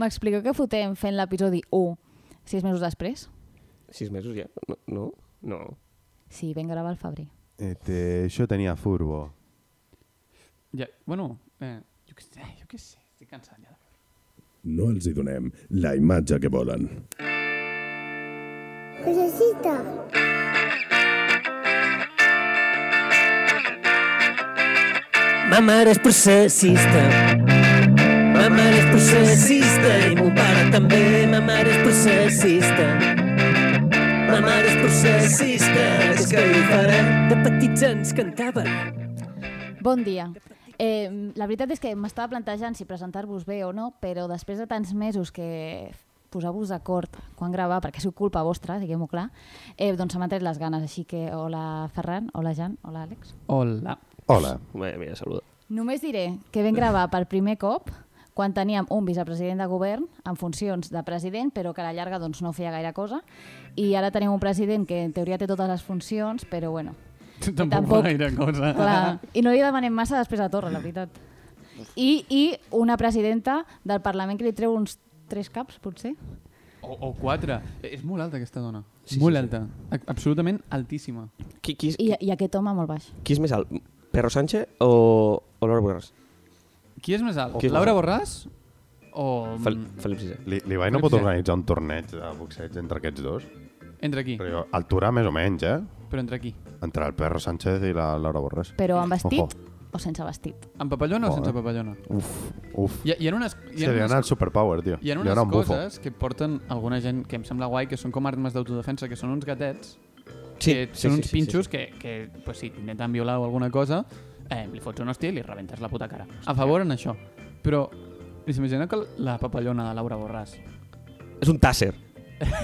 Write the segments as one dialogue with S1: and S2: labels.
S1: M'expliqueu què fotem fent l'episodi 1 sis mesos després?
S2: Sis mesos ja? No, no. no.
S1: Sí, vam gravar el febrer.
S3: Este, yo tenía furbo.
S4: Ja, bueno, eh, jo què sé, jo què sé, estic cansat ja.
S5: No els hi donem la imatge que volen.
S6: Curiosita.
S7: Ma mare és processista. Ma mare és processista i mon pare també. Ma mare és processista. Ma mare és processista. És que hi farem. De petits ens cantava.
S1: Bon dia. Eh, la veritat és que m'estava plantejant si presentar-vos bé o no, però després de tants mesos que posar-vos d'acord quan gravar, perquè és culpa vostra, diguem-ho clar, eh, doncs se m'han tret les ganes. Així que hola Ferran, hola Jan, hola Àlex.
S4: Hola.
S3: Hola.
S2: Vaja, mira, saluda.
S1: Només diré que vam gravar per primer cop quan teníem un vicepresident de govern en funcions de president, però que a la llarga doncs, no feia gaire cosa, i ara tenim un president que en teoria té totes les funcions, però bueno,
S4: Tampoc,
S1: Tampoc.
S4: Tampoc. gaire cosa.
S1: Clar, i no li demanem massa després a Torra, la veritat. I, I una presidenta del Parlament que li treu uns tres caps, potser?
S4: O, o quatre. Eh, És molt alta aquesta dona. Sí, molt sí, alta. Sí. Absolutament altíssima.
S2: Qui, qui, és,
S1: I, i aquest home molt baix.
S2: qui és més alt? Perro Sánchez o, o Laura Borràs?
S4: Qui és més alt?
S2: Qui és
S4: Laura
S2: més
S4: Borràs o mm,
S2: Fel, Felip VI.
S3: Li, L'Ibai no
S4: Crec
S3: pot
S4: que sí.
S3: organitzar un torneig de boxeig entre aquests dos?
S4: entre aquí?
S3: Però altura més o menys, eh?
S4: Però entre aquí.
S3: Entre el Perro Sánchez i la Laura Borràs.
S1: Però amb vestit
S3: Ojo.
S1: o sense vestit?
S4: Amb papallona o
S3: Joder.
S4: sense papallona?
S3: Uf, uf.
S4: Hi ha, hi ha unes, hi
S3: Se
S4: ha
S3: li
S4: unes,
S3: dona el superpower, tio.
S4: hi ha
S3: Li
S4: unes
S3: dona un bufo.
S4: coses que porten alguna gent que em sembla guai, que són com armes d'autodefensa, que són uns gatets, que són uns pinxos que, que pues, si t'intenten violar o alguna cosa, eh, li fots un hòstia i li rebentes la puta cara. A favor en això. Però s'imagina que la papallona de Laura Borràs
S2: És un tàsser.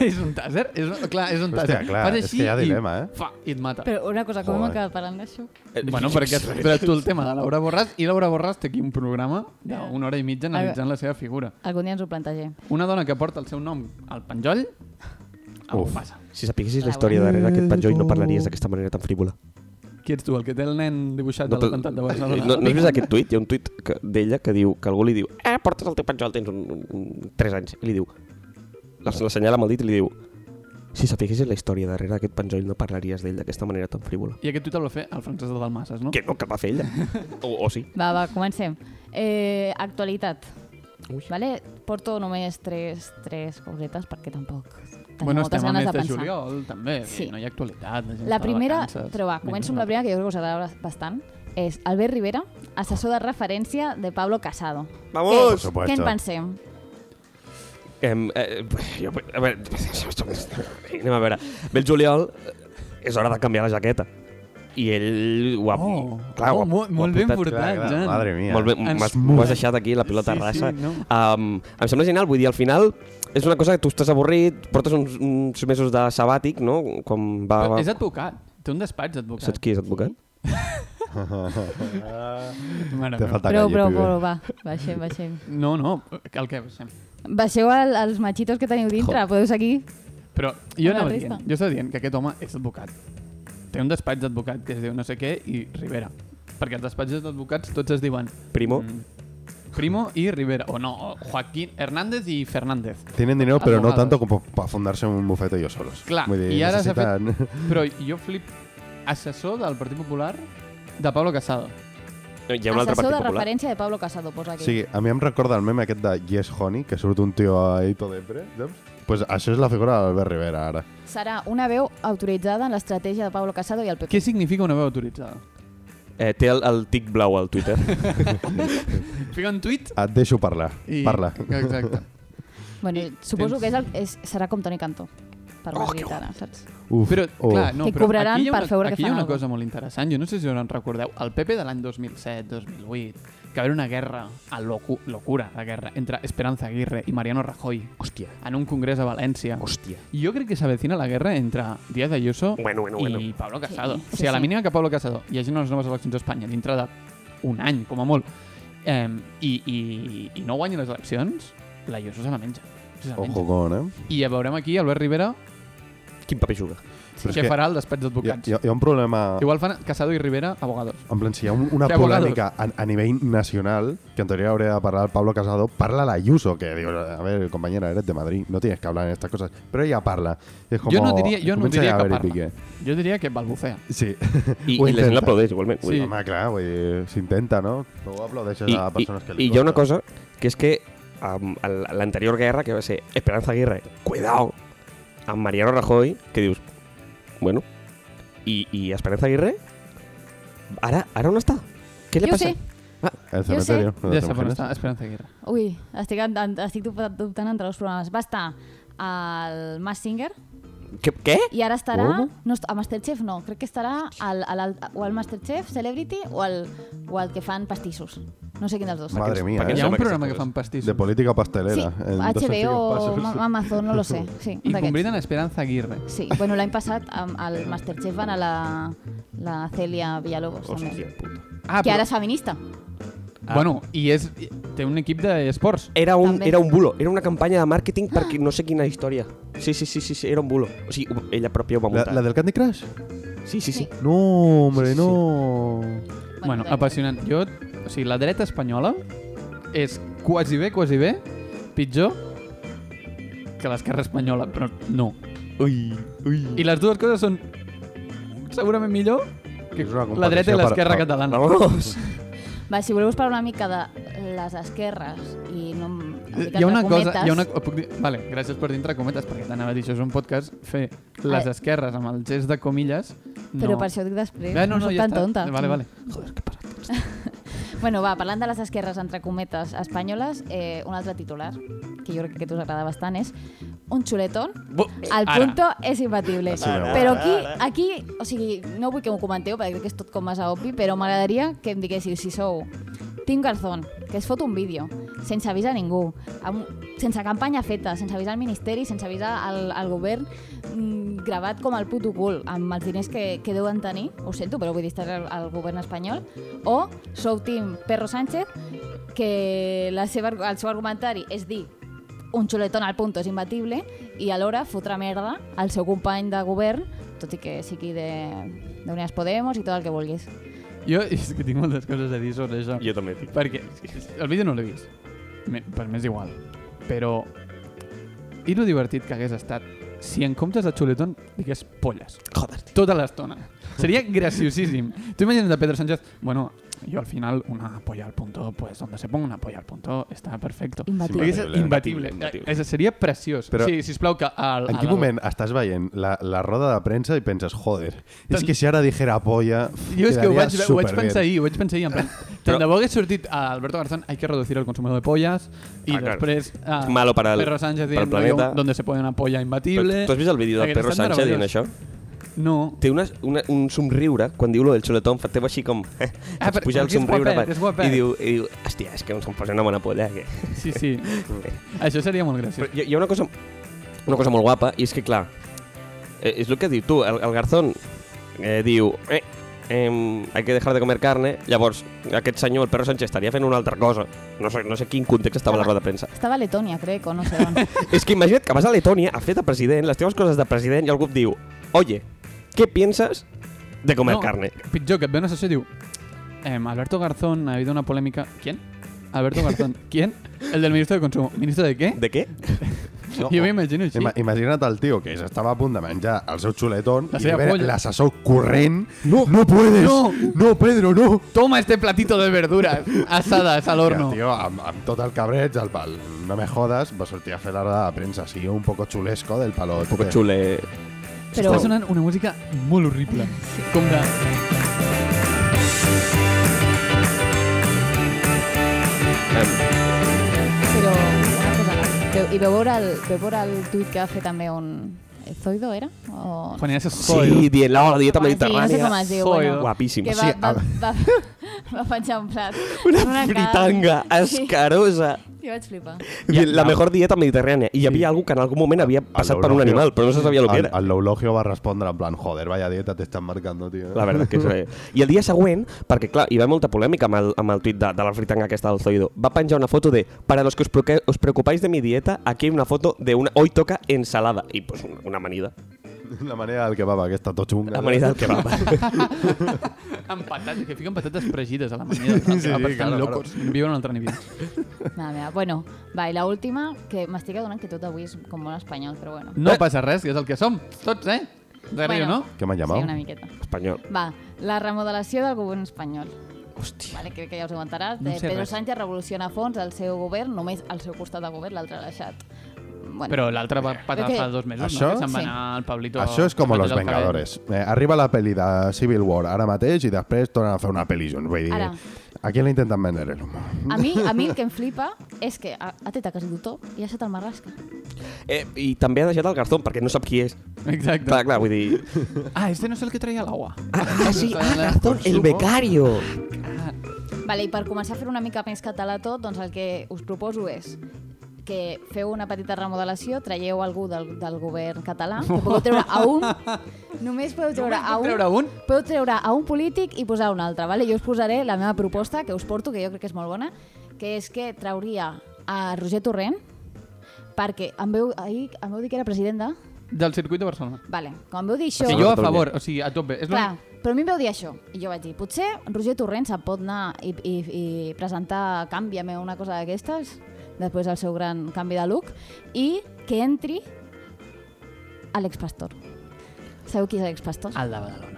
S4: és un tàser? És un, clar, és un
S3: Hòstia,
S4: tàser.
S3: clar, és que hi ha dilema, eh?
S4: I, fa, i et mata. Però,
S1: Però una cosa, com
S3: Joder.
S1: hem acabat parlant d'això?
S4: Eh, bueno, perquè has tret tu el tema de Laura Borràs i Laura Borràs té aquí un programa d'una hora i mitja analitzant la seva figura.
S1: Algun dia ens ho plantegem.
S4: Una dona que porta el seu nom al penjoll, algú
S3: Uf.
S4: passa.
S2: Si sapiguessis la
S1: Laura.
S2: història darrere aquest penjoll no parlaries d'aquesta manera tan frívola.
S4: Qui ets tu, el que té el nen dibuixat no, a
S2: te-
S4: l'atemptat Eh, de
S2: no,
S4: Barcelona?
S2: no has vist aquest tuit? Hi ha un tuit que- d'ella que diu que algú li diu eh, portes el teu penjoll, tens un, un, un 3 anys. I li diu, l'assenyala amb el dit i li diu si sapiguessis la història darrere d'aquest penjoll no parlaries d'ell d'aquesta manera tan frívola.
S4: I aquest tuit el va fer el Francesc de Dalmases, no?
S2: Que no, que el va fer ella. O, o sí.
S1: Va, va, comencem. Eh, actualitat.
S2: Ui.
S1: Vale? Porto només tres, tres cosetes perquè tampoc tenia
S4: bueno,
S1: moltes
S4: estem al
S1: ganes
S4: mes
S1: de
S4: de,
S1: pensar.
S4: juliol, també.
S1: Sí.
S4: Sí. No hi ha actualitat. gent
S1: La
S4: està de
S1: primera,
S4: vacances.
S1: però va, començo amb la
S4: Vinga.
S1: primera que jo crec que us agradarà bastant. És Albert Rivera, assessor de referència de Pablo Casado.
S2: Vamos!
S1: Què, què en pensem?
S2: Em, eh, jo, a veure, anem a veure. Ve el juliol, eh, és hora de canviar la jaqueta. I ell ho ha...
S4: Oh,
S2: clar, ho ha-
S4: oh, molt,
S2: ho ha
S4: molt ben
S2: portat-
S3: Clar,
S4: portat,
S3: clar,
S4: Jan.
S3: Madre mia.
S2: Molt bé,
S4: Ens
S2: m'has
S4: muda.
S2: m'ho has deixat aquí, la pilota
S4: Sí, sí,
S2: rasa.
S4: no.
S2: um, em sembla genial, vull dir, al final és una cosa que tu estàs avorrit, portes uns, uns mesos de sabàtic, no? Quan va...
S4: Però
S2: Ah, va...
S4: és advocat. Té un despatx d'advocat.
S2: Saps qui és advocat?
S4: Mare
S3: Te
S4: meva.
S3: falta
S1: Prou,
S3: calle,
S1: prou,
S3: pibe.
S1: prou, va, baixem, baixem.
S4: No, no, el que baixem.
S1: Baixeu el, els machitos que teniu dintre, podeu seguir.
S4: Però jo
S1: Amb la
S4: anava
S1: resta.
S4: dient, jo estava dient que aquest home és advocat. Té un despatx d'advocat que es diu no sé què i Rivera. Perquè els despatxos d'advocats tots es diuen
S2: Primo?
S4: Mm. Primo i Rivera. O no, o Joaquín Hernández i Fernández.
S3: Tienen dinero, pero no
S4: Abogados.
S3: tanto como para fundarse un bufete ellos solos.
S4: Clar,
S3: Vull dir,
S4: i ara s'ha fet-
S3: necessiten-
S4: Però jo flip assessor del Partit Popular de Pablo Casado.
S2: No, hi ha un altre
S1: Assessor
S2: partit
S1: de
S2: popular.
S1: referència de Pablo Casado, posa aquí.
S3: O sigui, a mi em recorda el meme aquest de Yes Honey, que surt un tio ahí todo depre, saps? Pues això és la figura d'Albert Rivera, ara.
S1: Serà una veu autoritzada en l'estratègia de Pablo Casado i el PP.
S4: Què significa una veu autoritzada?
S2: Eh, té el, el tic blau al Twitter.
S4: Fica un tuit
S3: Et deixo parlar.
S4: i...
S3: Parla.
S4: Exacte.
S1: Bueno,
S4: I
S1: suposo
S4: tens-
S1: que és el, és, serà com Toni Cantó, per oh, ara, saps?
S3: Uf, oh,
S4: Però,
S2: oh.
S3: uf.
S4: clar, no,
S1: Que
S4: però
S1: cobraran
S4: aquí hi ha una,
S1: per fer veure que
S4: aquí hi ha
S1: fan
S4: una
S1: alguna
S4: cosa molt interessant. Jo no sé si us en recordeu. El PP de l'any 2007-2008, que va haver una guerra, a locu locura de guerra, entre Esperanza Aguirre i Mariano Rajoy
S2: Hòstia,
S4: en un congrés a València.
S2: hòstia.
S4: Jo crec que s'avecina la guerra entre Díaz Ayuso
S2: Bueno, bueno, bueno.
S4: i Pablo Casado.
S1: Sí, sí,
S4: o sigui, a la
S1: sí.
S4: mínima que Pablo Casado hi hagi unes noves eleccions a Espanya dintre d'un any, com a molt, eh, i, i, i no guanyi les eleccions, l'Ayuso se la menja. Se la menja.
S3: Ojo con, eh?
S4: I ja veurem aquí Albert Rivera
S2: quin paper juga.
S3: Però és
S4: Què
S3: que
S4: farà el
S3: Hi
S4: despatx
S3: ha,
S4: d'advocats?
S3: hi, ha, hi ha un problema...
S4: Igual fan Casado i Rivera, abogados.
S3: En plan, si hi ha un- una
S4: Que abogados.
S3: polèmica a, a nivell nacional, que en teoría habría de hablar Pablo Casado, parla la Ayuso, que digo, a ver, compañera, eres de Madrid, no tienes que hablar en estas cosas. Pero ella parla. Y es como,
S4: Jo no diria, jo no
S3: comença ja
S4: diria
S3: a
S4: que
S3: haver-hi
S4: parla. Jo diria que balbucea.
S3: Sí.
S2: I,
S3: Ho
S2: i la gent
S3: intenta.
S2: l'aplaudeix igualment. Vull
S4: Sí.
S2: dir,
S3: Home, clar, vull dir, s'intenta, no? Tu aplaudeixes
S2: I,
S3: a
S2: i,
S3: persones que li
S2: i hi ha una
S3: costa.
S2: cosa que és que um, l'anterior guerra que va ser Esperanza Aguirre, cuidao, amb Mariano Rajoy, que dius, bueno, i, i Esperanza Aguirre, ara, ara on està? Què li
S1: Jo
S2: passa?
S1: sé. Jo sé.
S3: El cementerio. no
S4: Ja
S3: te
S4: sap on
S3: imagines?
S4: està, Esperanza Aguirre.
S3: Ah,
S1: Ui, estic, en- en- estic dubta- dubtant entre els programes. Va estar al Mass Singer
S2: Què? què?
S1: i ara estarà...
S2: Oh.
S1: No, est- a Masterchef no, crec que estarà al, al, al, o al Masterchef Celebrity o al, o al que fan pastissos. No sé quin dels dos.
S3: Madre mía,
S2: Perquè em
S3: eh?
S4: Hi ha
S2: sembla
S4: un
S2: que
S4: programa
S2: sí,
S4: que fan pastissos.
S3: De política
S1: Sí,
S3: pastelera. en dos cents i
S1: HBO
S3: cinc
S1: o
S3: passos.
S1: Ma- Amazon, no lo sé. Sí,
S4: I
S1: d'aquests.
S4: conviden a Esperanza Aguirre.
S1: Sí, bueno, l'any passat am- al Masterchef van a la, la Celia Villalobos, també,
S2: Hòstia, puta.
S4: Ah,
S1: que
S4: però- Ah,
S1: ara és feminista.
S4: Bueno, i és, té un equip d'esports.
S2: Era un,
S1: També. Ah.
S2: era un bulo, era una campanya de màrqueting perquè no sé quina història. Sí, sí, sí, sí, sí, era un bulo. O sigui, ho- ella pròpia ho va
S3: La,
S2: muntar.
S3: la del Candy Crush?
S2: Sí, sí, sí.
S3: No, hombre, no.
S4: Bueno,
S1: bé.
S4: apassionant. Jo, o sigui, la dreta espanyola és quasi bé, quasi bé, pitjor que l'esquerra espanyola, però no.
S2: Ui, ui.
S4: I les dues coses són segurament millor que
S3: És una
S4: la
S3: competició
S4: dreta i l'esquerra
S3: per- per-
S4: catalana.
S2: Vamos.
S1: Va, si voleu parlar una mica de les esquerres i no... em- em dic
S4: Eh, Hi ha una
S1: entre
S4: cosa...
S1: cometes,
S4: Hi ha una, puc dir, vale, gràcies per dir entre cometes, perquè t'anava a dir, això és un podcast, fer les
S1: Ah.
S4: esquerres amb el gest de comilles... No.
S1: Però per això ho dic després,
S4: Bé, no, no,
S1: soc
S4: ja
S1: tan
S4: està.
S1: tonta.
S4: Vale, vale.
S1: Bueno, va, parlant de les esquerres, entre cometes, espanyoles, eh, un altre titular, que jo crec que aquest us agrada bastant, és un xuletón
S2: Bu-
S1: al
S4: Ara.
S1: punto és imbatible.
S3: Sí, ara,
S1: però aquí, aquí, o sigui, no vull que m'ho comenteu, perquè crec que és tot com massa obvi, però m'agradaria que em diguéssiu si sou Tim Garzón, que es fot un vídeo, sense avisar a ningú, amb, sense campanya feta, sense avisar al ministeri, sense avisar al, al govern, mm, gravat com el puto cul, amb els diners que, que deuen tenir, ho sento, però vull dir, estar al, al govern espanyol, o sou Tim Perro Sánchez, que la seva, arg- el seu argumentari és dir un xuletón al punto és imbatible i alhora fotrà merda al seu company de govern, tot i que sigui de, de Unidas Podemos i tot el que vulguis.
S4: Jo és que tinc moltes coses a dir sobre això.
S2: Jo també, tinc.
S4: Perquè el vídeo no l'he vist. Me- Per m'és igual. Però... I lo divertit que hagués estat si en comptes de xuletón digués polles. Joder. Tota l'estona. Seria graciosíssim. Tu imagines a Pedro Sánchez... Bueno, jo al final una polla al punto, pues donde se ponga una polla al punto está perfecto.
S1: Imbatible.
S4: Hauria estat
S2: Imbatible,
S4: Imbatible.
S2: imbatible.
S4: Eh, eh, Seria preciós.
S3: Però-
S4: Però... Sí, sisplau, que... Al,
S3: En quin
S4: al-
S3: moment estàs veient la, la roda de premsa i penses, joder, és que si ara dijera polla,
S4: Jo és que ho vaig,
S3: quedaria
S4: ho vaig
S3: superbé.
S4: pensar ahir, ho vaig pensar ahir, en plan, tant de bo hagués sortit a Alberto Garzón, hay que reducir el consumo de pollas, i
S2: Ah,
S4: ah,
S2: claro.
S4: després a
S2: Es malo para el-
S4: Perro Sánchez
S2: para el
S4: dient, no,
S2: planeta.
S4: donde se pone una polla imbatible...
S2: Però Tu has vist el vídeo del
S4: Hagués
S2: Perro
S4: estat
S2: Sánchez dient
S4: meravellós.
S2: això?
S4: No.
S2: Té una, una, un somriure, quan diu lo del xuletón, fa teu així com... Eh,
S4: Ah,
S2: faig
S4: per-
S2: pujar el
S4: perquè és
S2: somriure
S4: guapet, és guapet.
S2: i, diu, i diu, hòstia, és que em posa una bona polla. Que...
S4: Sí, sí. Això seria molt
S2: Però
S4: graciós.
S2: hi, hi ha una cosa, una cosa molt guapa, i és que, clar, eh, és el que diu tu, el, el Garzón eh, diu... Eh, em, hay que dejar de comer carne, llavors aquest senyor, el Perro Sánchez, estaria fent una altra cosa. No sé, no sé quin context estava a la roda de premsa.
S1: Estava a Letònia, crec, o no sé on.
S2: És que imagina't que vas a Letònia a fer de president, les teves coses de president, i algú et diu, oye, ¿qué piensas de comer
S4: no,
S2: carne?
S4: Pitjor, que et ve una sessió i diu em, Alberto Garzón, ha habido una polémica... ¿Quién? Alberto Garzón. ¿Quién? El del ministro de Consumo. ¿Ministro de qué?
S2: ¿De qué?
S3: No,
S4: Jo m'imagino així.
S3: Ima imagina't el tio que s'estava a punt de menjar el seu xuletón
S4: La
S3: i
S4: seva
S3: veure
S4: polla.
S3: l'assessor corrent.
S4: No.
S3: no puedes!
S4: No.
S3: no Pedro, no!
S4: Toma este platito de verduras asadas al
S3: Ja,
S4: horno.
S3: tio, amb, amb tot el cabreig, el pal, no me jodas, va sortir a fer la roda de premsa, sí, un poco chulesco del palo.
S2: Un poco chule.
S1: Però
S4: Està sonant una música molt horrible. Com de...
S1: Però una cosa, no. i veu veure el, veu veure el tuit que va fer també un... Zoido era? O...
S4: Quan hi ha
S2: Sí, dient la hora, dieta
S1: Com es diu,
S2: mediterrània.
S1: No sé com es diu,
S4: Zoido.
S1: bueno.
S2: Guapíssim.
S1: Que
S2: O
S1: va,
S2: sigui,
S1: va, va, va penjar un plat. amb
S2: Una
S1: cara-
S2: fritanga escarosa.
S1: Jo vaig flipar.
S2: Dient la mejor dieta mediterrània. I hi havia algú que en algun moment havia passat per un animal, però no se sabia el que
S3: el,
S2: era.
S3: el Loulogio va respondre en plan, joder, vaya dieta te están marcando, tío.
S2: La veritat que és... eh. I el dia següent, perquè clar, hi va molta polèmica amb el, amb el tuit de, de la fritanga aquesta del Zoido, va penjar una foto de «Para los que os, preocu- os preocupáis de mi dieta, aquí hay una foto de una... Hoy toca ensalada». I pues una, una amanida.
S3: La manera del kebab, aquesta tot xunga.
S2: Amanida del kebab.
S4: Amb patates, que fiquen patates fregides a la manera. Sí, sí,
S3: claro, claro.
S4: locos. Viuen un altre nivell.
S1: Mare meva. Bueno, va, i l'última, que m'estic adonant que tot avui és com molt espanyol, però bueno.
S4: No passa res, que és el que som. Tots, eh? De riu,
S1: Bueno.
S4: no?
S3: Que m'han
S1: Sí, una
S3: llamat?
S1: miqueta.
S2: Espanyol.
S1: Va, la remodelació del govern espanyol.
S2: Hòstia.
S1: Vale, crec que ja us ho aguantaràs.
S4: No
S1: No
S4: sé
S1: Pedro
S4: res.
S1: Sánchez revoluciona a fons el seu govern, només al seu costat de govern, l'altre l'ha deixat. Bueno,
S4: Però l'altre va patar
S1: Crec que-
S4: fa dos mesos,
S3: Això?
S4: no? Que se'n va
S1: Sí.
S4: anar al Pablito...
S3: Això és com
S4: Zapatero
S3: Los
S4: al cabell.
S3: Vengadores. Eh, arriba la pel·li de Civil War ara mateix i després tornen a fer una pel·li junts. Vull dir,
S1: Ara.
S3: a qui l'intenten vendre el humor?
S1: a mi, a mi el que em flipa és que ha, ha tret a quasi tothom i ha deixat el Marlaska.
S2: Eh, I també ha deixat el Garzón, perquè no sap qui és.
S4: Exacte.
S2: Clar, clar, vull dir...
S4: Ah, este no és el que traia l'agua.
S2: Ah, sí, ah, Garzón, el
S4: Consumo.
S2: becario.
S1: Vale, I per començar a fer una mica més català tot, doncs el que us proposo és que feu una petita remodelació, traieu algú del, del govern català, que podeu treure a un, només podeu treure a
S4: puc
S1: un,
S4: treure un?
S1: podeu treure a un polític i posar un altre. Vale? Jo us posaré la meva proposta, que us porto, que jo crec que és molt bona, que és que trauria a Roger Torrent, perquè em veu, ahir em veu dir que era presidenta,
S4: Del circuit de Barcelona.
S1: vale, quan em veu dir això...
S4: Que jo a
S2: Catalunya.
S4: favor, o sigui, a tope. És
S1: Clar,
S4: l'únic-
S1: però a mi em vau dir això. I jo vaig dir, potser Roger Torrent se'n pot anar i, i, i presentar Canvia'm una cosa d'aquestes, després del seu gran canvi de look, i que entri Àlex Pastor. Sabeu qui és Àlex Pastor?
S4: El de Badalona.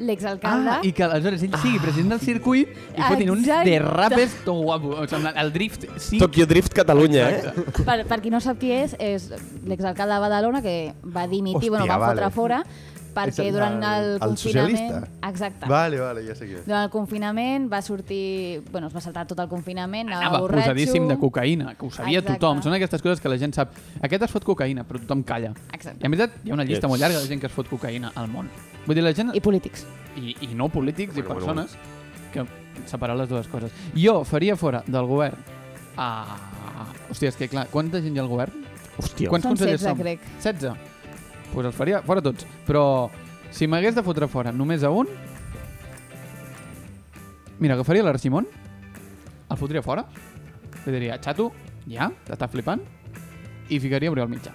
S1: L'exalcalde.
S4: Ah, i que aleshores ell sigui president del circuit i fotin uns
S1: Ah, Exacte.
S4: derrapes tot guapo. O sigui, el drift, sí.
S2: Tokyo Drift Catalunya, eh?
S1: per, per qui no sap qui és, és l'exalcalde de Badalona que va dimitir,
S3: Hòstia,
S1: bueno, va
S3: vale.
S1: fotre fora perquè
S3: És el
S1: durant
S3: del-
S1: el,
S3: el
S1: confinament...
S3: socialista?
S1: Exacte.
S3: Vale, vale, ja sé qui és.
S1: Durant el confinament va sortir... Bueno, es va saltar tot el confinament, anava,
S4: Anava
S1: borratxo...
S4: posadíssim de cocaïna, que ho sabia
S1: Exacte.
S4: tothom. Són aquestes coses que la gent sap. Aquest es fot cocaïna, però tothom calla.
S1: Exacte.
S4: I en veritat hi ha una llista
S2: Yes.
S4: molt llarga de gent que es fot cocaïna al món. Vull dir, la gent...
S1: I polítics.
S4: i, i no polítics i persones que separar les dues coses. Jo faria fora del govern a... Hòstia, és que clar, quanta gent hi ha al govern?
S2: Hòstia.
S4: Quants
S1: Són 16,
S4: consellers som?
S1: crec.
S4: 16. Doncs pues els faria fora tots. Però si m'hagués de fotre fora només a un... Mira, agafaria l'Argimon, el fotria fora, li diria, xato, ja, t'està flipant, i ficaria Oriol Mitjà.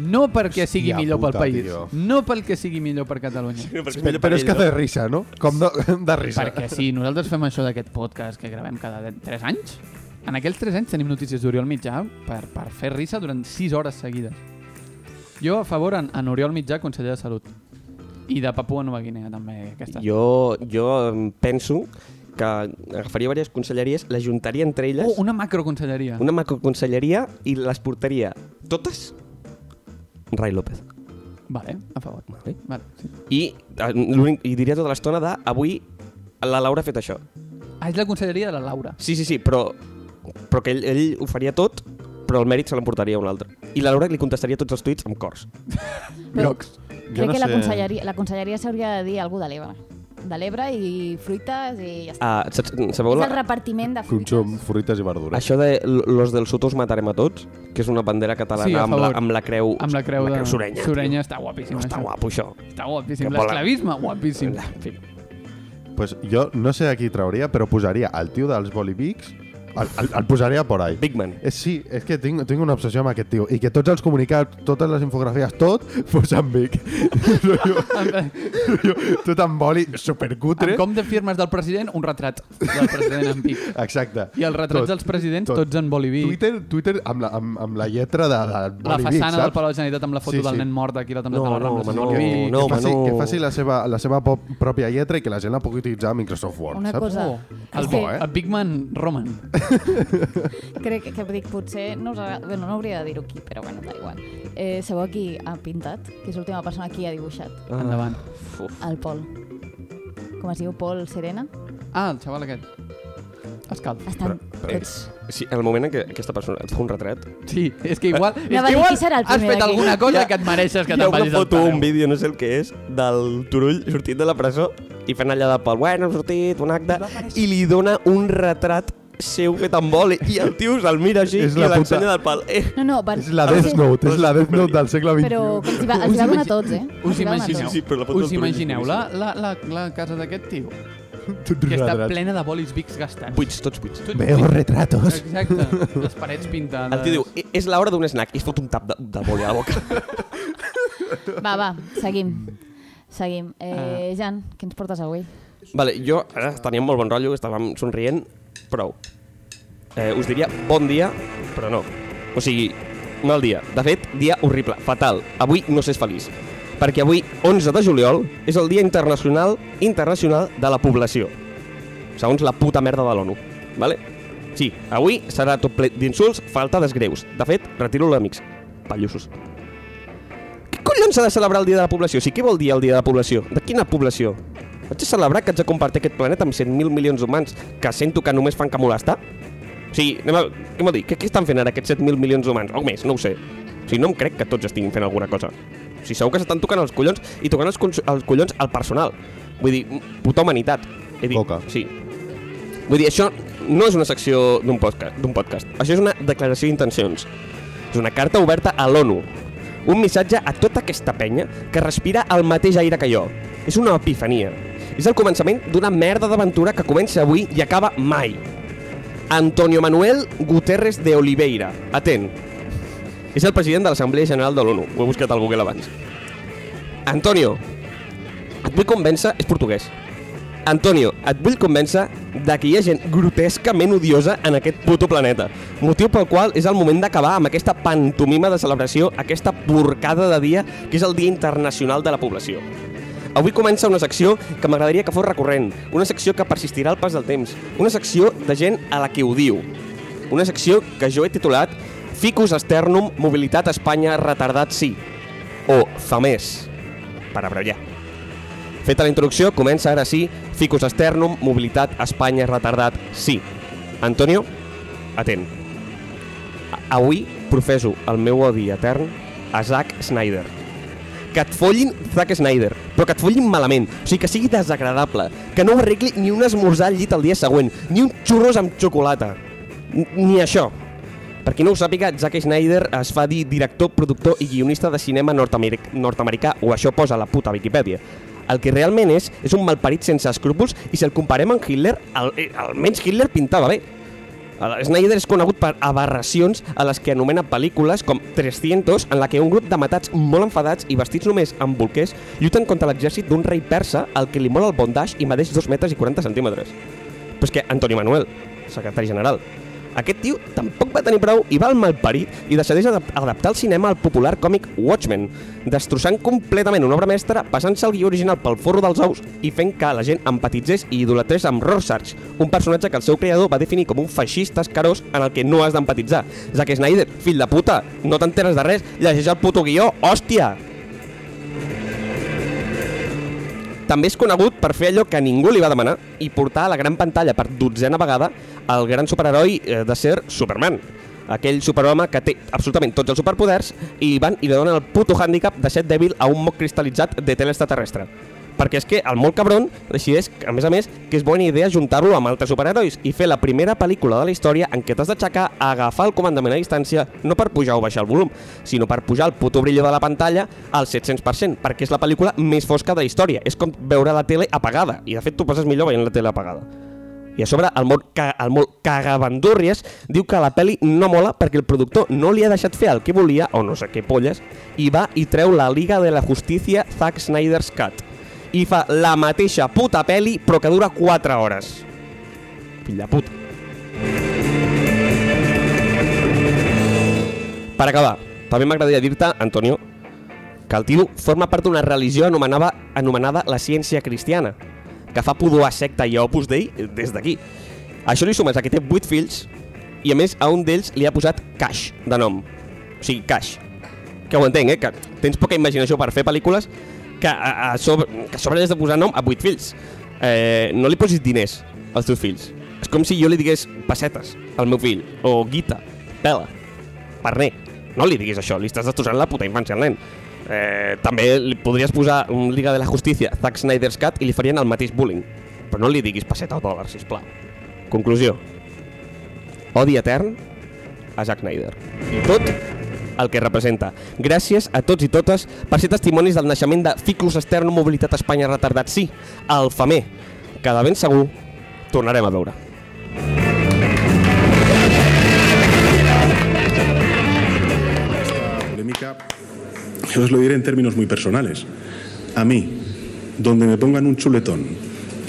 S4: No perquè sigui
S3: Hòstia
S4: millor
S3: puta,
S4: pel país,
S3: tio.
S4: no pel que sigui millor per Catalunya.
S3: Però, però és que de risa, no? Com de, de risa.
S4: Perquè si nosaltres fem això d'aquest podcast que gravem cada 3 anys, en aquells 3 anys tenim notícies d'Oriol Mitjà per, per fer risa durant 6 hores seguides. Jo a favor en, en Oriol Mitjà, conseller de Salut. I de Papua Nova Guinea també.
S3: eh?
S4: Aquesta.
S2: Jo, jo em penso que agafaria diverses conselleries, les juntaria entre elles,
S4: Oh, una macroconselleria.
S2: una macroconselleria i les portaria totes Rai López.
S4: Vale, a favor.
S2: Vale.
S4: Vale, sí.
S2: I, eh, l'únic- i diria tota l'estona de avui la Laura ha fet això.
S4: Ah, és la conselleria de la Laura.
S2: Sí, sí, sí, però, però que ell, ell ho faria tot, però el mèrit se l'emportaria un altre. I la Laura li contestaria tots els tuits amb cors.
S4: Brocs.
S1: Crec que la conselleria, la conselleria s'hauria de dir algú de l'Ebre. De l'Ebre i fruites i ja està.
S2: Ah, saps, sabeu
S1: és el
S2: la,
S1: repartiment de fruites.
S3: Consum, fruites i verdures.
S2: això de los del sud us matarem a tots, que és una bandera catalana
S4: Sí, a
S2: amb, la,
S4: favor.
S2: amb la creu,
S4: Amb la creu,
S2: la
S4: de...
S2: creu surenya.
S4: Surenya està guapíssim.
S2: No està
S4: això.
S2: guapo, això.
S4: Està guapíssim.
S2: Que vola.
S4: L'esclavisme, guapíssim.
S2: En fi.
S3: Pues jo no sé a qui trauria, però posaria el tio dels bolivics, el, el, el posaria por ahí.
S2: Big Man.
S3: Eh, sí, és que tinc, tinc una obsessió amb aquest tio i que tots els comunicats, totes les infografies, tot, fos en Vic. Rotllo- rotllo, tot en boli, supercutre.
S4: En com de firmes del president, un retrat del president en pic.
S3: Exacte.
S4: I els retrats
S3: Tot,
S4: dels presidents,
S3: tot.
S4: tots en boliví.
S3: Twitter, Twitter amb, la, amb, amb la lletra de, de
S4: La
S3: Bolivic,
S4: façana del
S3: saps?
S4: Palau de la Generalitat amb la foto
S3: Sí,
S4: sí, del
S3: sí.
S4: nen mort aquí a la Tambla
S2: No,
S4: de la
S2: no,
S4: Rambla.
S2: home, no.
S4: Boliví.
S3: que,
S2: no, home,
S3: faci,
S2: no.
S3: que faci la seva, la seva pop, pròpia lletra i que la gent la pugui utilitzar a Microsoft Word,
S1: Una
S3: saps?
S1: cosa-
S4: Oh, el,
S1: És
S4: Big,
S3: que-
S4: el Big Man Roman.
S1: Crec que, que dic, potser no, us agrada, bueno, no hauria de dir-ho aquí, però bueno, da igual. Eh, sabeu qui ha pintat? Que és l'última persona qui ha dibuixat?
S2: Ah,
S4: Endavant.
S2: uf.
S1: El Pol. Com es diu? Pol Serena?
S4: Ah, el xaval aquest. Escalf.
S1: Estan
S3: Però- però-
S1: tots...
S2: Sí, en el moment en què aquesta persona et fa un retrat...
S4: Sí, és que igual, és
S1: va
S4: que
S1: dir,
S4: igual
S1: qui serà el
S4: has
S1: primer
S4: fet
S1: d'aquí?
S4: alguna cosa
S2: Hi ha-
S4: que et mereixes que
S2: Hi ha
S4: te'n
S2: una
S4: vagis al
S2: foto, un
S4: Tadeu.
S2: vídeo, no sé el que és, del Turull sortint de la presó i fent allà de pal. Bueno, hem sortit, un acte... I li dona un retrat seu fet amb boli i el tio se'l mira així
S3: És
S2: i
S3: la puta-
S2: l'ensenya del pal. Eh,
S1: No, no, van...
S3: És la Death Note, és la Death Note del segle XXI.
S1: Però que els hi va, els hi va donar a tots, eh?
S4: Us
S1: Els hi va donar a
S4: imagineu,
S1: tots.
S2: Sí, sí, però la foto
S4: us
S2: del Turull és
S4: imagineu la, la, la, la casa d'aquest tio que està plena de bolis bics gastats.
S2: buits, tots buits.
S4: Tot-
S3: Veo retratos.
S4: Exacte, les parets pintades.
S2: "E-, El tio diu, "Eh, és l'hora d'un snack, i es fot un tap de, de boli a la boca.
S1: Va, va, seguim. Seguim.
S3: Ah.
S1: Eh, Jan, què ens portes avui?
S2: Vale, jo ara teníem molt bon rotllo, estàvem somrient, prou. Eh, us diria bon dia, però no. O sigui, mal dia. De fet, dia horrible, fatal. Avui no s'és feliç. Perquè avui, 11 de juliol, és el Dia Internacional Internacional de la Població. Segons la puta merda de l'ONU. Vale? Sí, avui serà tot ple d'insults, faltades greus. De fet, retiro-lo, amics. Pallussos. Què collons s'ha de celebrar el Dia de la Població? O sigui, què vol dir el Dia de la Població? De quina població? Vaig a celebrar que haig de compartir aquest planeta amb 100.000 milions d'humans que sento que només fan que molestar? O sigui, anem a, què m'ho dir? Què, què estan fent ara aquests 7.000 milions d'humans? O més, no ho sé. O sigui, no em crec que tots estiguin fent alguna cosa. O sigui, segur que s'estan tocant els collons i tocant els, cons- els collons al personal. Vull dir, puta humanitat. He dit,
S3: Coca.
S2: Sí. Vull dir, això no és una secció d'un podcast, d'un podcast. Això és una declaració d'intencions. És una carta oberta a l'ONU. Un missatge a tota aquesta penya que respira el mateix aire que jo. És una epifania. És el començament d'una merda d'aventura que comença avui i acaba mai. Antonio Manuel Guterres de Oliveira. Atent. És el president de l'Assemblea General de l'ONU. Ho he buscat al Google abans. Antonio, et vull convèncer... És portuguès. Antonio, et vull convèncer de que hi ha gent grotescament odiosa en aquest puto planeta. Motiu pel qual és el moment d'acabar amb aquesta pantomima de celebració, aquesta porcada de dia que és el Dia Internacional de la Població. Avui comença una secció que m'agradaria que fos recurrent, una secció que persistirà al pas del temps, una secció de gent a la que odio, una secció que jo he titulat Ficus Esternum, Mobilitat a Espanya, retardat sí, o FAMES, per abrollar. Feta la introducció, comença ara sí, Ficus Esternum, Mobilitat a Espanya, retardat sí. Antonio, atent. A- Avui profeso el meu odi etern a Zack Snyder que et follin Zack Snyder, però que et follin malament, o sigui, que sigui desagradable, que no ho arregli ni un esmorzar al llit el dia següent, ni un xurros amb xocolata, N- ni això. Per qui no ho sàpiga, Zack Snyder es fa dir director, productor i guionista de cinema nord-americ- nord-americà, o això posa la puta Viquipèdia. El que realment és, és un malparit sense escrúpols i si el comparem amb Hitler, al, eh, almenys Hitler pintava bé. El Snyder és conegut per aberracions a les que anomena pel·lícules com 300, en la que un grup de matats molt enfadats i vestits només amb bolquers lluiten contra l'exèrcit d'un rei persa al que li mola el bondage i medeix 2 metres i 40 centímetres. Però és que Antoni Manuel, secretari general, aquest tio tampoc va tenir prou i va al malparit i decideix adap- adaptar el cinema al popular còmic Watchmen, destrossant completament una obra mestra, passant-se el guió original pel forro dels ous i fent que la gent empatitzés i idolatrés amb Rorschach, un personatge que el seu creador va definir com un feixista escarós en el que no has d'empatitzar. Zack Snyder, fill de puta, no t'enteres de res, llegeix el puto guió, hòstia! També és conegut per fer allò que ningú li va demanar i portar a la gran pantalla per dotzena vegada el gran superheroi eh, de ser Superman. Aquell superhome que té absolutament tots els superpoders i van i li donen el puto hàndicap de ser dèbil a un moc cristal·litzat de tele extraterrestre. Perquè és que el molt cabron decideix, a més a més, que és bona idea juntar-lo amb altres superherois i fer la primera pel·lícula de la història en què t'has d'aixecar a agafar el comandament a distància no per pujar o baixar el volum, sinó per pujar el puto brillo de la pantalla al 700%, perquè és la pel·lícula més fosca de la història. És com veure la tele apagada, i de fet tu passes millor veient la tele apagada. I a sobre, el mot, ca, el mot cagabandúrries diu que la peli no mola perquè el productor no li ha deixat fer el que volia, o no sé què polles, i va i treu la Liga de la Justícia Zack Snyder's Cut. I fa la mateixa puta peli, però que dura 4 hores. Fill de puta. Per acabar, també m'agradaria dir-te, Antonio, que el tio forma part d'una religió anomenava, anomenada la ciència cristiana, que fa pudor a secta i a Opus Dei des d'aquí. A Això li sumes a que té 8 fills i a més a un d'ells li ha posat Cash, de nom. O sigui, Cash. Que ho entenc, eh? Que tens poca imaginació per fer pel·lícules que a, a sobre, que a sobre li has de posar nom a 8 fills. Eh, no li posis diners als teus fills. És com si jo li digués pessetes al meu fill, o guita, pela, Parné, no li diguis això, li estàs destrossant la puta infància al nen. Eh, també li podries posar un Liga de la Justícia, Zack Snyder's Cat, i li farien el mateix bullying. Però no li diguis passeta o dòlar, sisplau. Conclusió. Odi etern a Zack Snyder. I tot el que representa. Gràcies a tots i totes per ser testimonis del naixement de Ficus Extern Mobilitat Espanya Retardat Sí, el FAME, que de ben segur tornarem a veure.
S5: Polémica Yo os lo diré en términos muy personales. A mí, donde me pongan un chuletón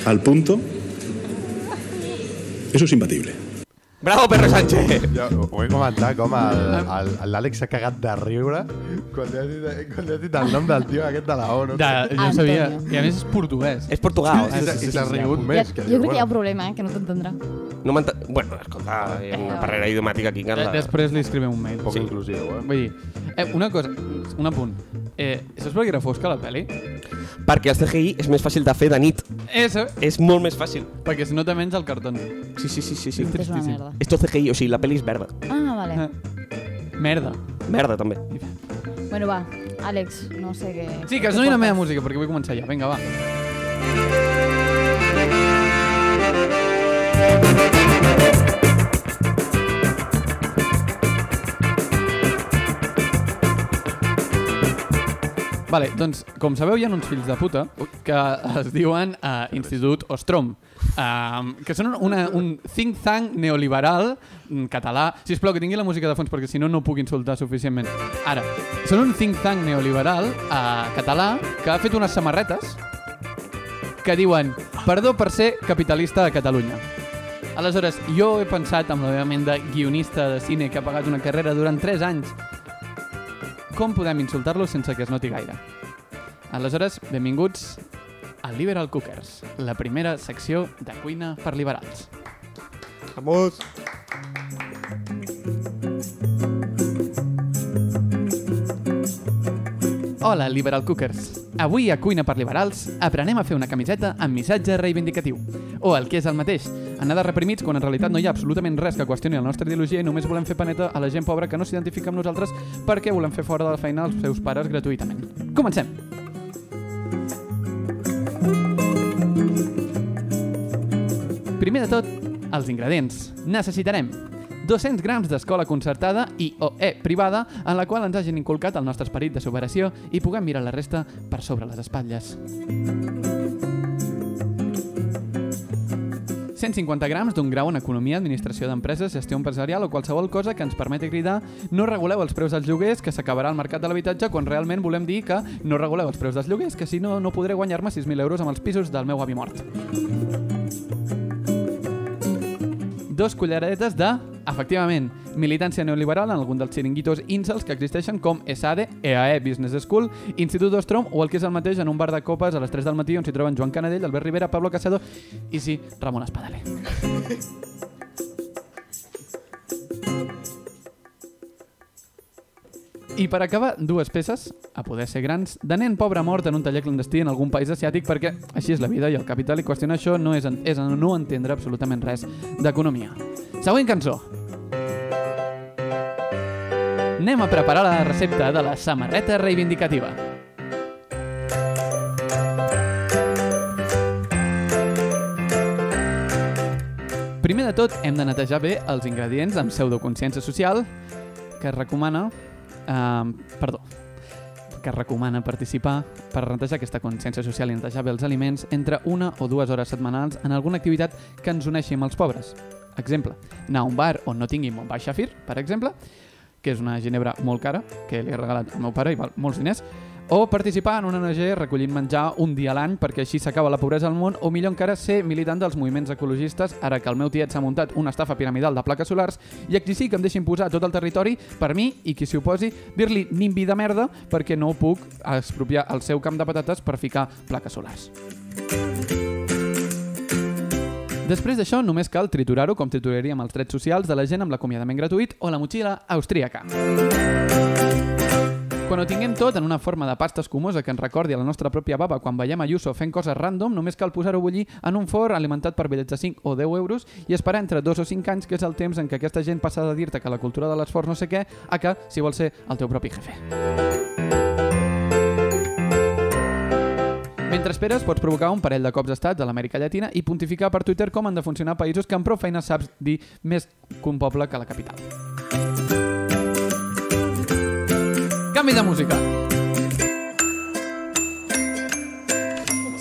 S5: al punto, eso es imbatible.
S2: Bravo, Pedro Sánchez!
S3: Jo ho he comentat com el- el- l'Àlex s'ha cagat de riure quan li has dit, quan li has dit el nom del tio aquest de la
S2: "Eh,
S3: O. No?
S4: De, jo
S1: Antonio.
S4: sabia. I a més és portuguès.
S2: És Portugal.
S3: I s'ha- I s'ha rigut
S1: Hi ha,
S3: més.
S1: jo
S3: que
S1: crec
S3: diu,
S1: que hi ha un
S3: bueno,
S1: problema, eh, que no t'entendrà.
S2: No m'enta... Bueno, escolta, hi ha una barrera idiomàtica aquí. Que
S4: De,
S2: la...
S4: després li escrivem un mail.
S3: Poc
S2: Sí.
S3: inclusiu, eh?
S4: Vull dir, eh, una cosa, un apunt. Eh, saps per què era fosca la pel·li?
S2: Perquè el CGI és més fàcil de fer de nit.
S4: Eh, saps?
S2: És molt més fàcil.
S4: Perquè si no te menja el cartón.
S2: Sí, sí, sí, sí. sí.
S1: És una
S4: tristíssim.
S1: merda.
S2: És tot CGI, o sigui, la pel·li és verda.
S1: Ah, vale.
S4: Eh. Merda.
S2: Verda, també.
S1: Bueno, va, Àlex, no sé què...
S4: Sí, que
S1: què
S4: soni la
S1: portes.
S4: meva música, perquè vull començar ja. Vinga, va. Vale, doncs, com sabeu, hi ha uns fills de puta que es diuen uh, Institut Ostrom, um, que són una, un think tank neoliberal mm, català. Si plau que tingui la música de fons, perquè si no, no puc insultar suficientment. Ara, són un think tank neoliberal uh, català que ha fet unes samarretes que diuen «Perdó per ser capitalista de Catalunya». Aleshores, jo he pensat amb la meva ment de guionista de cine que ha pagat una carrera durant 3 anys com podem insultar-lo sense que es noti gaire? Aleshores, benvinguts a Liberal Cookers, la primera secció de cuina per liberals.
S2: Vamos.
S4: Hola, Liberal Cookers! Avui a Cuina per Liberals aprenem a fer una camiseta amb missatge reivindicatiu. O el que és el mateix, anar de reprimits quan en realitat no hi ha absolutament res que qüestioni la nostra ideologia i només volem fer paneta a la gent pobra que no s'identifica amb nosaltres perquè volem fer fora de la feina els seus pares gratuïtament. Comencem! Primer de tot, els ingredients. Necessitarem 200 grams d'escola concertada i o E privada en la qual ens hagin inculcat el nostre esperit de superació i puguem mirar la resta per sobre les espatlles. 150 grams d'un grau en Economia, Administració d'Empreses, Gestió Empresarial o qualsevol cosa que ens permeti cridar no reguleu els preus dels lloguers, que s'acabarà el mercat de l'habitatge quan realment volem dir que no reguleu els preus dels lloguers, que si no, no podré guanyar-me 6.000 euros amb els pisos del meu avi mort. dos culleretes de, efectivament, militància neoliberal en algun dels xiringuitos incels que existeixen com E ESADE, EAE Business School, Institut Ostrom o el que és el mateix en un bar de copes a les 3 del matí on s'hi troben Joan Canadell, Albert Rivera, Pablo Casado i sí, Ramon Espadaler. I per acabar, dues peces, a poder ser grans, de nen pobre mort en un taller clandestí en algun país asiàtic perquè així és la vida i el capital i qüestionar això no és, en- és en- no entendre absolutament res d'economia. Següent cançó. Anem a preparar la recepta de la samarreta reivindicativa. Primer de tot, hem de netejar bé els ingredients amb pseudoconsciència social, que es recomana... Eh, perdó que es recomana participar per netejar aquesta consciència social i netejar bé els aliments entre una o dues hores setmanals en alguna activitat que ens uneixi amb els pobres. Exemple, anar a un bar on no tingui molt baix xafir, per exemple, que és una ginebra molt cara, que li he regalat al meu pare i val molts diners, o participar en una ONG recollint menjar un dia a l'any perquè així s'acaba la pobresa al món, o millor encara ser militant dels moviments ecologistes ara que el meu tiet s'ha muntat una estafa piramidal de plaques solars i exigir que em deixin posar a tot el territori per mi i qui s'hi oposi dir-li nimbi de merda perquè no puc expropiar el seu camp de patates per ficar plaques solars. Després d'això, només cal triturar-ho com trituraríem els drets socials de la gent amb l'acomiadament gratuït o la motxilla austríaca. Quan ho tinguem tot en una forma de pasta escumosa que ens recordi a la nostra pròpia baba quan veiem Ayuso fent coses random, només cal posar-ho a bullir en un forn alimentat per bitllets de 5 o 10 euros i esperar entre 2 o 5 anys, que és el temps en què aquesta gent passa de dir-te que la cultura de l'esforç no sé què, a que, si vols ser, el teu propi jefe. Mentre esperes, pots provocar un parell de cops d'estat de l'Amèrica Llatina i pontificar per Twitter com han de funcionar països que amb prou feina saps dir més que un poble que la capital. Canvi de música!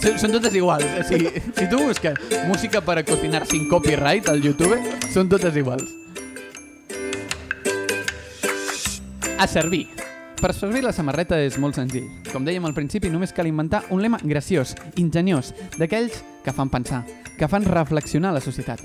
S4: Són són totes iguals. O sigui, si tu busques música per a cocinar sin copyright al YouTube, són totes iguals. A servir. Per servir la samarreta és molt senzill. Com dèiem al principi, només cal inventar un lema graciós, ingeniós, d'aquells que fan pensar, que fan reflexionar la societat.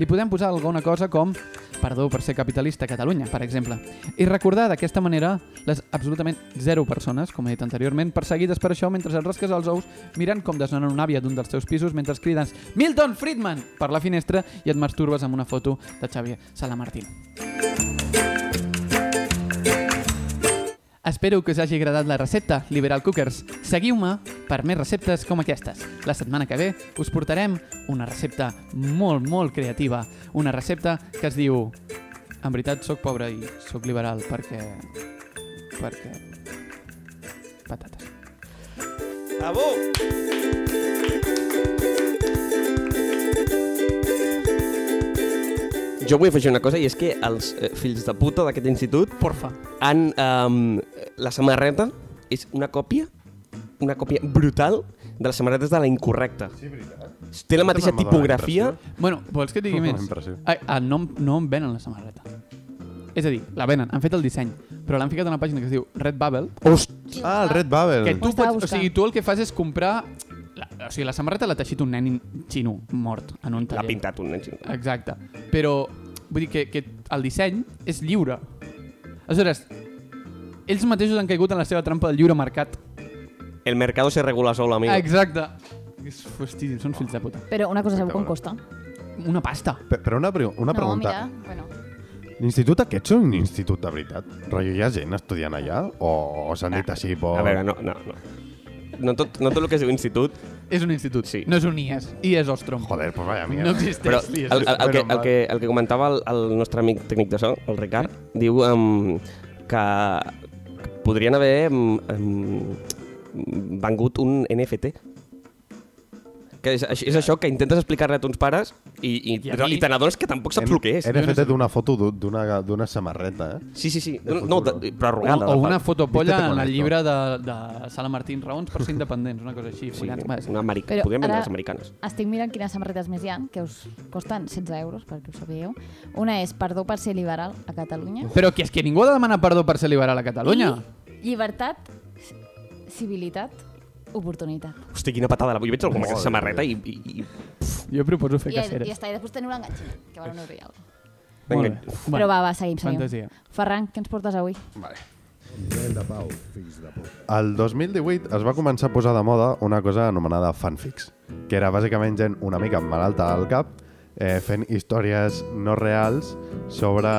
S4: Li podem posar alguna cosa com perdó per ser capitalista a Catalunya, per exemple, i recordar d'aquesta manera les absolutament zero persones, com he dit anteriorment, perseguides per això mentre et rasques els ous mirant com desnonen una àvia d'un dels teus pisos mentre crides Milton Friedman per la finestra i et masturbes amb una foto de Xavier Salamartín. Espero que us hagi agradat la recepta, Liberal Cookers. Seguiu-me per més receptes com aquestes. La setmana que ve us portarem una recepta molt, molt creativa. Una recepta que es diu... En veritat, sóc pobre i sóc liberal perquè... perquè... patates.
S2: Bravo! Jo vull afegir una cosa, i és que els eh, fills de puta d'aquest institut
S4: Porfa.
S2: han... ehm, la samarreta és una còpia, una còpia brutal de les samarretes de la incorrecta. Sí, veritat. Té la mateixa
S3: Aquesta me'n va donar
S2: tipografia...
S3: impressió.
S4: Bueno, vols que et digui més?
S3: Impressiu.
S4: Ai, ah, no, em- no em venen la samarreta. És a dir, la venen, han fet el disseny, però l'han ficat a una pàgina que es diu Redbubble,
S3: Host... Ah, el Red
S4: que
S3: Babel.
S4: tu
S1: Ho estava
S4: pots, o sigui,
S1: buscant.
S4: tu el que fas és comprar... La, o sigui, la samarreta l'ha teixit un nen xino mort en un
S2: L'ha
S4: taller.
S2: pintat un nen. xino.
S4: Exacte. Però vull dir que, que el disseny és lliure. Aleshores, ells mateixos han caigut en la seva trampa del lliure mercat.
S2: El mercado se regula sol, amigo.
S4: Exacte. És- Hosti, són fills de puta.
S1: Però una cosa, sabeu com costa?
S4: Una pasta.
S3: Pe- Però una, pre- una
S1: no,
S3: pregunta.
S1: mira, bueno.
S3: L'institut aquest és un institut de veritat? Rollo, hi ha gent estudiant allà? O, o s'han dit així? Por...
S2: A veure, no, no, no. No tot, no tot el que es diu institut,
S4: És un institut.
S2: Sí.
S4: No és un IES. IES Ostrom.
S3: Joder, pues vaya
S4: No
S3: mierda.
S4: existeix
S2: però el,
S4: l'IES.
S2: el, el, que, el,
S3: mal.
S2: que, el que comentava el, el nostre amic tècnic de so, el Ricard, diu um, que que podrien haver um, um, vengut un NFT. Que és, és això que intentes explicar-li a tons pares i, i,
S4: I a
S2: i
S4: mi-
S2: te n'adones que tampoc saps el que és.
S3: He fet d'una foto d'u- d'una d'una samarreta, eh?
S2: Sí, sí, sí.
S3: de
S2: No,
S3: futuro.
S2: de, però
S4: O,
S2: arrugada.
S4: o
S2: de
S4: una
S2: part.
S4: fotopolla
S3: Vístete
S4: en
S3: con
S4: el
S3: esto.
S4: llibre de, de Sala Martín, raons per ser independents, una cosa
S2: Sí,
S4: així. follats, va,
S2: una americana.
S1: Però
S2: Podríem vendre
S1: ara-
S2: les americanes.
S1: Estic mirant quines samarretes més hi ha, que us costen 16 euros, perquè ho sabíeu. Una és Perdó per ser liberal a Catalunya.
S4: Però que és que ningú ha de demanar perdó per ser liberal a Catalunya.
S1: I llibertat, ci- civilitat, oportunitat.
S2: Hosti, quina patada. la- Jo veig algú amb aquesta samarreta i, i, i
S4: Jo proposo fer
S1: I, i,
S4: caceres.
S1: està, i després teniu l'enganxina, que val un euro i alguna cosa.
S4: Molt
S2: Vinga.
S4: bé.
S1: Però va, va, seguim, seguim.
S4: Fantasia.
S1: Ferran, què ens portes avui?
S3: El 2018 es va començar a posar de moda una cosa anomenada fanfics, que era bàsicament gent una mica malalta al cap eh, fent històries no reals sobre...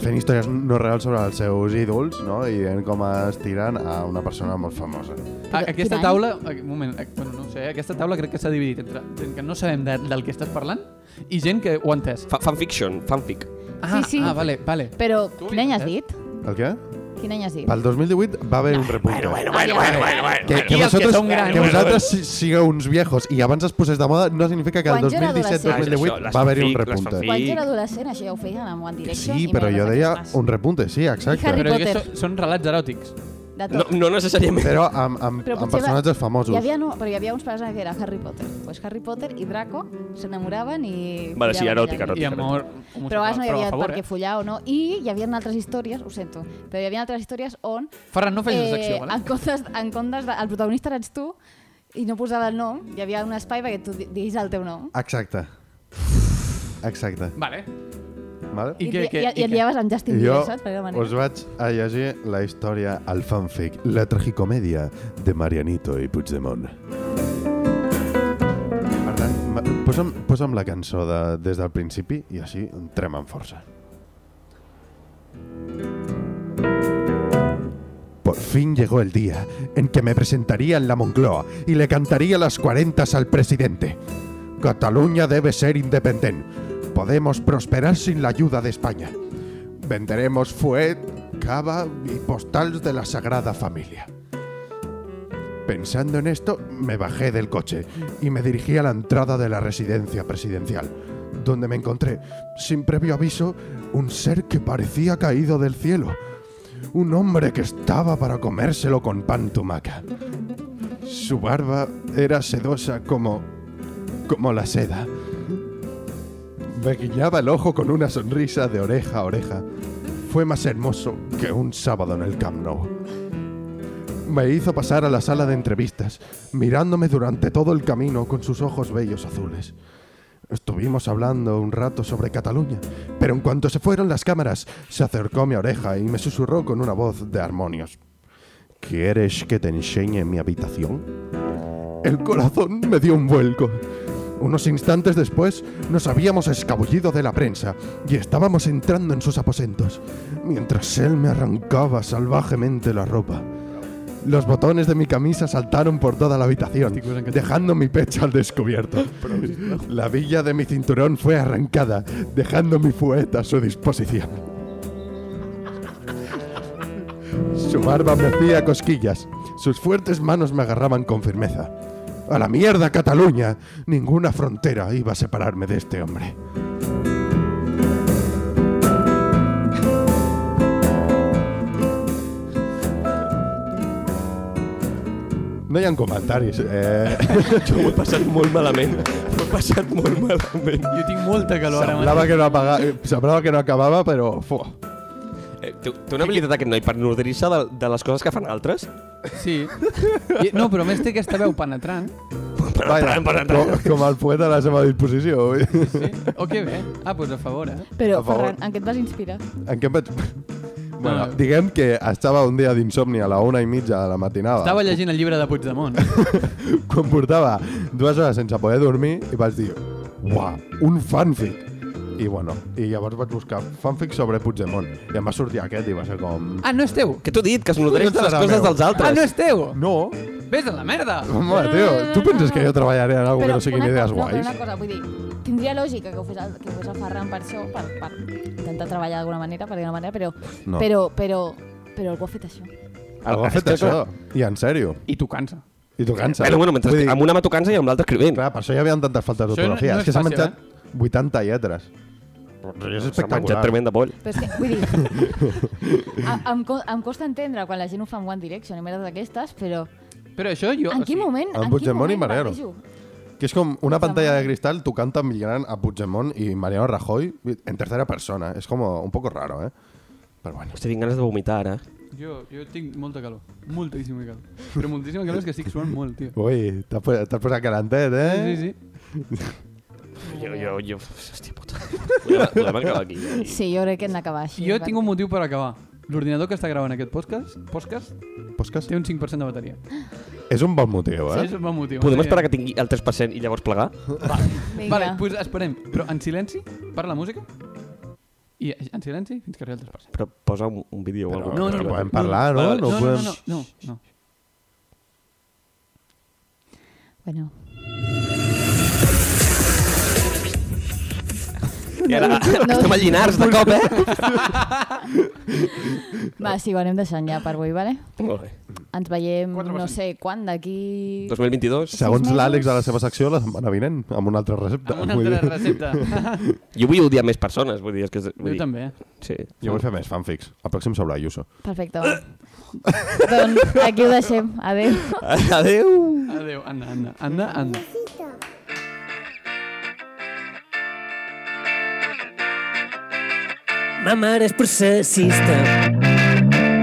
S3: fent històries no reals sobre els seus ídols, no? I veient com es tiren a una persona molt famosa.
S4: A- Aquesta
S1: Quin any?
S4: taula, a- un moment, a- bueno, no ho sé, aquesta taula crec que s'ha dividit entre gent que no sabem de, del que estàs parlant i gent que ho ha entès.
S2: Fa- Fanfiction, fanfic.
S4: Ah,
S1: Sí, sí.
S4: ah vale, vale.
S1: Però,
S4: Tu
S1: quin any has
S4: eh?
S1: dit?
S3: El què?
S1: Quin any has dit? Ah,
S3: Pel 2018 va haver un repunte.
S1: bueno, bueno, bueno,
S3: Que, que,
S4: I els que
S3: vosaltres,
S4: són grans.
S3: que vosaltres si- sigueu uns viejos i abans es posés de moda no significa que el
S1: Quan jo era
S2: adolescent.
S3: 2017-2018 va haver-hi un
S2: Les fanfic, les
S3: repunte.
S2: fanfic.
S1: Quan
S2: Sí.
S1: jo era adolescent això ja ho feien amb One Direction
S3: Sí,
S1: i
S3: però
S1: merdes
S3: jo deia
S1: d'aquestes.
S3: un repunte, sí,
S1: I Harry
S3: exacte.
S4: Però
S1: Potter.
S4: aquests són, són relats eròtics.
S1: De
S2: No,
S1: tot.
S2: no necessàriament.
S3: Però amb, amb,
S1: Però potser
S3: amb
S1: va-
S3: personatges famosos.
S1: Hi havia, no, però hi havia uns pares que era Harry Potter. Pues Harry Potter i Draco s'enamoraven i...
S2: Vale, sí,
S1: follaven
S2: eròtic,
S1: allà.
S2: eròtic.
S4: I amor
S1: Però a vegades no hi
S4: però
S1: havia
S4: a favor, eh?
S1: per què follar o no. I hi havia altres històries, ho sento, però hi havia altres històries on
S4: Eh? Ferran, no facis eh, secció,
S1: en
S4: vale?
S1: comptes, en comptes de, el protagonista eres tu i no posava el nom, hi havia un espai perquè tu di- diguis el teu nom.
S3: Exacte. Exacte.
S4: Vale.
S3: Vale?
S4: I
S1: I,
S4: què,
S1: i,
S4: què,
S1: i,
S4: i
S1: i et
S4: què?
S1: lleves amb Justin
S3: jo
S1: Bieber, saps? Per manera.
S3: us vaig a llegir la història al fanfic, la tragicomèdia de Marianito i Puigdemont. Per tant, ma- posa'm, posa'm la cançó de, des del principi i així entrem amb força. Por fin llegó el día en que me presentaría en la Moncloa y le cantaría las cuarentas al presidente. Cataluña debe ser independiente. Podemos prosperar sin la ayuda de España. Venderemos fuet, cava y postales de la Sagrada Familia. Pensando en esto, me bajé del coche y me dirigí a la entrada de la residencia presidencial, donde me encontré, sin previo aviso, un ser que parecía caído del cielo. Un hombre que estaba para comérselo con pan tumaca. Su barba era sedosa como... como la seda. Me guiñaba el ojo con una sonrisa de oreja a oreja. fue más hermoso que un sábado en el Camp Nou. Me hizo pasar a la sala de entrevistas, mirándome durante todo el camino con sus ojos bellos azules. Estuvimos hablando un rato sobre Cataluña, pero en cuanto se fueron las cámaras, se acercó a mi oreja y me susurró con una voz de armonios. ¿Quieres que te enseñe mi habitación? El corazón me dio un vuelco. Unos instantes después nos habíamos escabullido de la prensa y estábamos entrando en sus aposentos, mientras él me arrancaba salvajemente la ropa. Los botones de mi camisa saltaron por toda la habitación, dejando mi pecho al descubierto. La villa de mi cinturón fue arrancada, dejando mi fueta a su disposición. Su barba me hacía cosquillas, sus fuertes manos me agarraban con firmeza. A la mierda, Cataluña. Ninguna frontera iba a separarme de este hombre. No hi ha comentaris. Eh...
S2: Jo ho he passat molt malament. Ho he passat molt malament.
S4: Jo tinc molta calor ara
S3: Semblava que no, apaga... Semblava que no acabava, però... Fuà.
S2: Eh, té, té una habilitat aquest noi per nodrir-se de, de les coses que fan altres?
S4: Sí. I, no, però a més té aquesta veu penetrant.
S3: Vaja, com, com el poeta a la seva disposició. vull dir.
S4: Sí. O que bé. Ah, doncs a favor, eh?
S1: Però,
S3: A favor.
S1: Ferran, en què et vas inspirar?
S3: En què em vaig... Bueno,
S4: no.
S3: diguem que estava un dia d'insomni a la una i mitja de la matinada.
S4: Estava llegint el llibre de Puigdemont.
S3: quan portava dues hores sense poder dormir i vaig dir, uah, un fanfic. I bueno, i llavors vaig buscar fanfic sobre Puigdemont. I em va sortir aquest i va ser com...
S4: Ah, no és teu?
S2: Que t'ho he dit, que es nodreix de les
S3: Collons,
S2: coses
S3: era meu.
S2: dels altres.
S4: Ah, no és teu?
S3: No,
S4: Ves a la merda!
S3: home, tio, tu penses que jo treballaré en alguna que no siguin
S1: una
S3: idees
S1: cosa, no, però
S3: guais?
S1: una cosa, vull dir, tindria lògica que ho fes, el- que ho fes el Ferran per això, per, per intentar treballar d'alguna manera, per alguna manera, però,
S3: No.
S1: però, però, però algú ha fet això.
S3: Algú ha fet Ah, això, i en sèrio.
S4: I tu cansa.
S3: I tu cansa.
S2: Bueno, bueno, mentre,
S3: Vull dir,
S2: amb una mà tocant-se i amb l'altra escrivent.
S3: Clar, per això hi havia tantes faltes
S4: Això no-
S3: d'ortografia.
S4: no
S3: és que
S4: és
S3: s'ha
S4: fàcil,
S3: menjat 80 lletres. És
S2: S'ha menjat
S3: espectacular.
S2: tremenda boll.
S1: Però és que, vull dir, a, em, co- em costa entendre quan la gent ho fa amb One Direction i merdes d'aquestes, però
S4: Però això jo...
S1: en quin moment, en
S3: amb
S1: quin
S3: Puigdemont i
S1: moment
S3: Marero.
S1: barrejo?
S3: Que és com una pantalla de cristal tocant tan gran a Puigdemont i Mariano Rajoy en tercera persona. És com un poco raro, eh? Però bueno.
S2: Hòstia, tinc ganes de vomitar ara.
S4: Jo, jo tinc molta calor. Moltíssima calor. Però moltíssima calor és que estic suant molt, tio.
S3: Ui, t'has pos- t'has posat calentet, eh?
S4: Sí, sí.
S2: Jo, jo, jo... Hòstia puta. Podem acabar aquí. eh?
S1: Sí, jo crec que hem d'acabar així.
S4: Jo tinc un motiu per acabar. L'ordinador que està gravant aquest podcast, podcast
S3: Podcast?
S4: té un 5% de bateria.
S3: És un bon motiu,
S4: Sí,
S3: eh?
S4: és un bon motiu.
S2: Podem
S4: Bateria.
S2: esperar que tingui el 3% i llavors plegar?
S1: Vinga.
S4: Vale, pues esperem. Però en silenci, para la música. I en silenci fins que arribi al 3%.
S2: Però posa un, un vídeo o
S3: Però-
S2: alguna
S3: no,
S2: cosa.
S3: no, podem parlar, no?
S4: Vale,
S3: No
S4: vale. no,
S3: podem-
S4: no, no, no, no, no.
S1: Bueno,
S2: I ara
S1: no.
S2: estem a Llinars de cop, eh?
S1: va, sí, ho anem deixant ja per avui, vale?
S2: Molt bé.
S1: Ens veiem,
S4: Quatre
S1: no
S4: persones.
S1: sé, quan, d'aquí...
S2: 2022.
S3: Segons
S1: mesos.
S3: l'Àlex de la seva secció, la setmana vinent, amb una altra recepta.
S4: Amb una
S3: vull
S4: altra
S3: dir.
S4: recepta.
S2: Jo vull odiar més persones, vull dir, és que... és- Vull
S4: jo
S2: dir,
S4: també. eh.
S2: Sí.
S3: Jo vull fer més fanfics. El pròxim sobre Ayuso.
S1: Perfecte. doncs aquí ho deixem. Adéu.
S2: Adéu!
S4: Adéu, Anna, Anna, Anna, Anna.
S7: Ma mare és processista.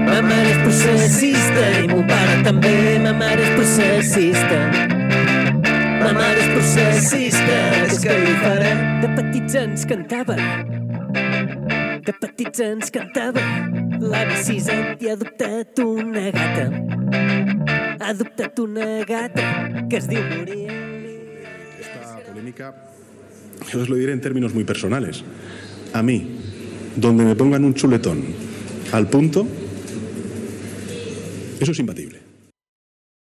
S7: Ma mare és processista i mon pare també. Ma mare és processista. Ma mare és processista. És que hi faré. De petits ens cantava. De petits ens cantava. L'avi Siset i ha adoptat una gata. Ha adoptat una gata que es diu Muriel.
S5: Esta polémica, yo os lo diré en términos muy personales. A mí, donde me pongan un chuletón al punto, eso es imbatible.